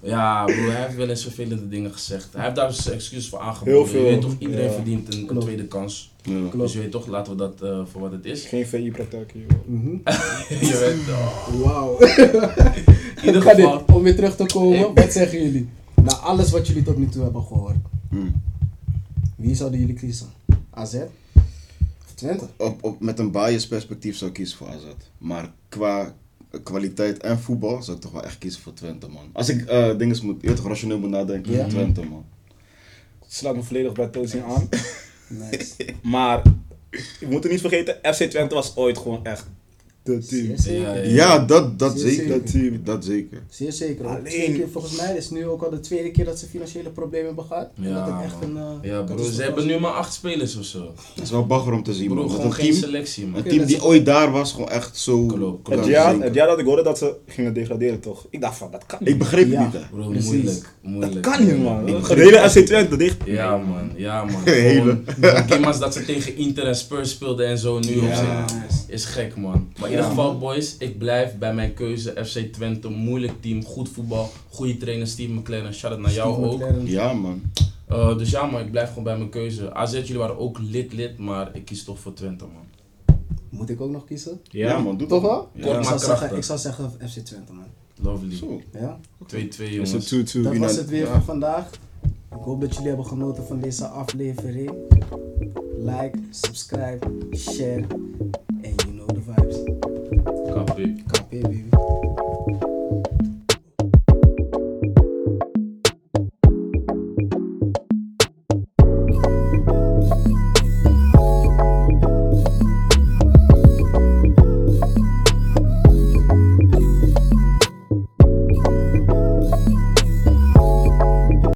Speaker 2: Ja, broer, hij heeft wel eens vervelende dingen gezegd. Hij heeft daar zijn excuses voor aangeboden.
Speaker 5: Heel veel.
Speaker 2: Je weet toch, iedereen
Speaker 5: Ja.
Speaker 2: verdient een, een
Speaker 1: Klopt.
Speaker 2: tweede kans.
Speaker 3: Ja.
Speaker 1: Klopt.
Speaker 2: Dus je weet toch, laten we dat eh, voor wat het is.
Speaker 5: Geen VI-praktijk hier.
Speaker 1: Mhm.
Speaker 2: je weet, oh,
Speaker 1: Wauw.
Speaker 2: in ieder
Speaker 1: Kan
Speaker 2: geval.
Speaker 1: dit, om weer terug te komen, wat zeggen jullie? Na alles wat jullie tot nu toe hebben gehoord,
Speaker 3: Hmm.
Speaker 1: wie zouden jullie kiezen? AZ? Of Twente?
Speaker 3: Op, op, met een bias perspectief zou ik kiezen voor AZ. Maar qua kwaliteit en voetbal zou ik toch wel echt kiezen voor Twente, man. Als ik eh dingen moet, je weet toch rationeel moet nadenken,
Speaker 1: Ja.
Speaker 3: Twente, man.
Speaker 5: Slaat me volledig bij Tozin aan.
Speaker 1: Nice.
Speaker 5: Maar, je moet het niet vergeten, FC Twente was ooit gewoon echt de team.
Speaker 1: Zeer zeker.
Speaker 3: Ja, dat, dat
Speaker 1: Zeer
Speaker 3: zeker.
Speaker 5: Dat team.
Speaker 3: Dat zeker.
Speaker 1: Zeer zeker. Ook
Speaker 5: Alleen-
Speaker 1: Twee keer, volgens mij is het nu ook al de tweede keer dat ze financiële problemen hebben gehad.
Speaker 2: Ja,
Speaker 1: dat het echt een.
Speaker 2: man.
Speaker 1: eh,
Speaker 2: Ja, broer,
Speaker 1: catastrofe
Speaker 2: ze
Speaker 1: was.
Speaker 2: hebben nu maar acht spelers of zo.
Speaker 3: Dat is wel bagger om te zien,
Speaker 2: Broer,
Speaker 3: man. Dat
Speaker 2: gewoon
Speaker 3: een
Speaker 2: geen
Speaker 3: team,
Speaker 2: selectie, man.
Speaker 3: een team die ooit daar was, gewoon echt zo...
Speaker 2: Klopt, klopt.
Speaker 3: Ja,
Speaker 5: Het jaar,
Speaker 3: zeker.
Speaker 5: het jaar dat ik hoorde dat ze gingen degraderen, toch? Ik dacht van, dat kan
Speaker 3: Ik
Speaker 5: niet.
Speaker 3: begreep het
Speaker 1: Ja.
Speaker 3: niet, hè.
Speaker 2: Broer,
Speaker 1: Precies.
Speaker 2: moeilijk, moeilijk.
Speaker 5: Dat kan niet, man.
Speaker 2: moeilijk.
Speaker 5: De hele FC Twente dicht.
Speaker 2: Ja man, ja man.
Speaker 3: Hele.
Speaker 2: Gimmers dat ze tegen Inter en Spurs speelden en zo nu op zich. Is gek man. Maar in ieder geval boys, ik blijf bij mijn keuze FC Twente. Moeilijk team, goed voetbal, goede trainer Steve McLaren. Shout out naar jou
Speaker 1: Steve
Speaker 2: ook.
Speaker 1: McLaren.
Speaker 3: Ja, man.
Speaker 2: Eh, dus ja man, ik blijf gewoon bij mijn keuze. AZ, jullie waren ook lid lid, maar ik kies toch voor Twente man.
Speaker 1: Moet ik ook nog kiezen?
Speaker 3: Ja, man. Doe
Speaker 1: Toch wel?
Speaker 3: Ja.
Speaker 2: Kort
Speaker 1: ik, zou
Speaker 2: maar krachtig.
Speaker 1: zeggen, ik zou zeggen FC Twente, man.
Speaker 2: Lovely.
Speaker 3: Zo.
Speaker 1: Ja?
Speaker 2: 2-2
Speaker 4: Is
Speaker 2: jongens.
Speaker 4: het 2-2.
Speaker 1: Dat
Speaker 3: Wie
Speaker 1: was
Speaker 3: dan-
Speaker 1: het weer
Speaker 3: ja.
Speaker 1: voor vandaag. Ik hoop dat jullie hebben genoten van deze aflevering. Like, subscribe, share.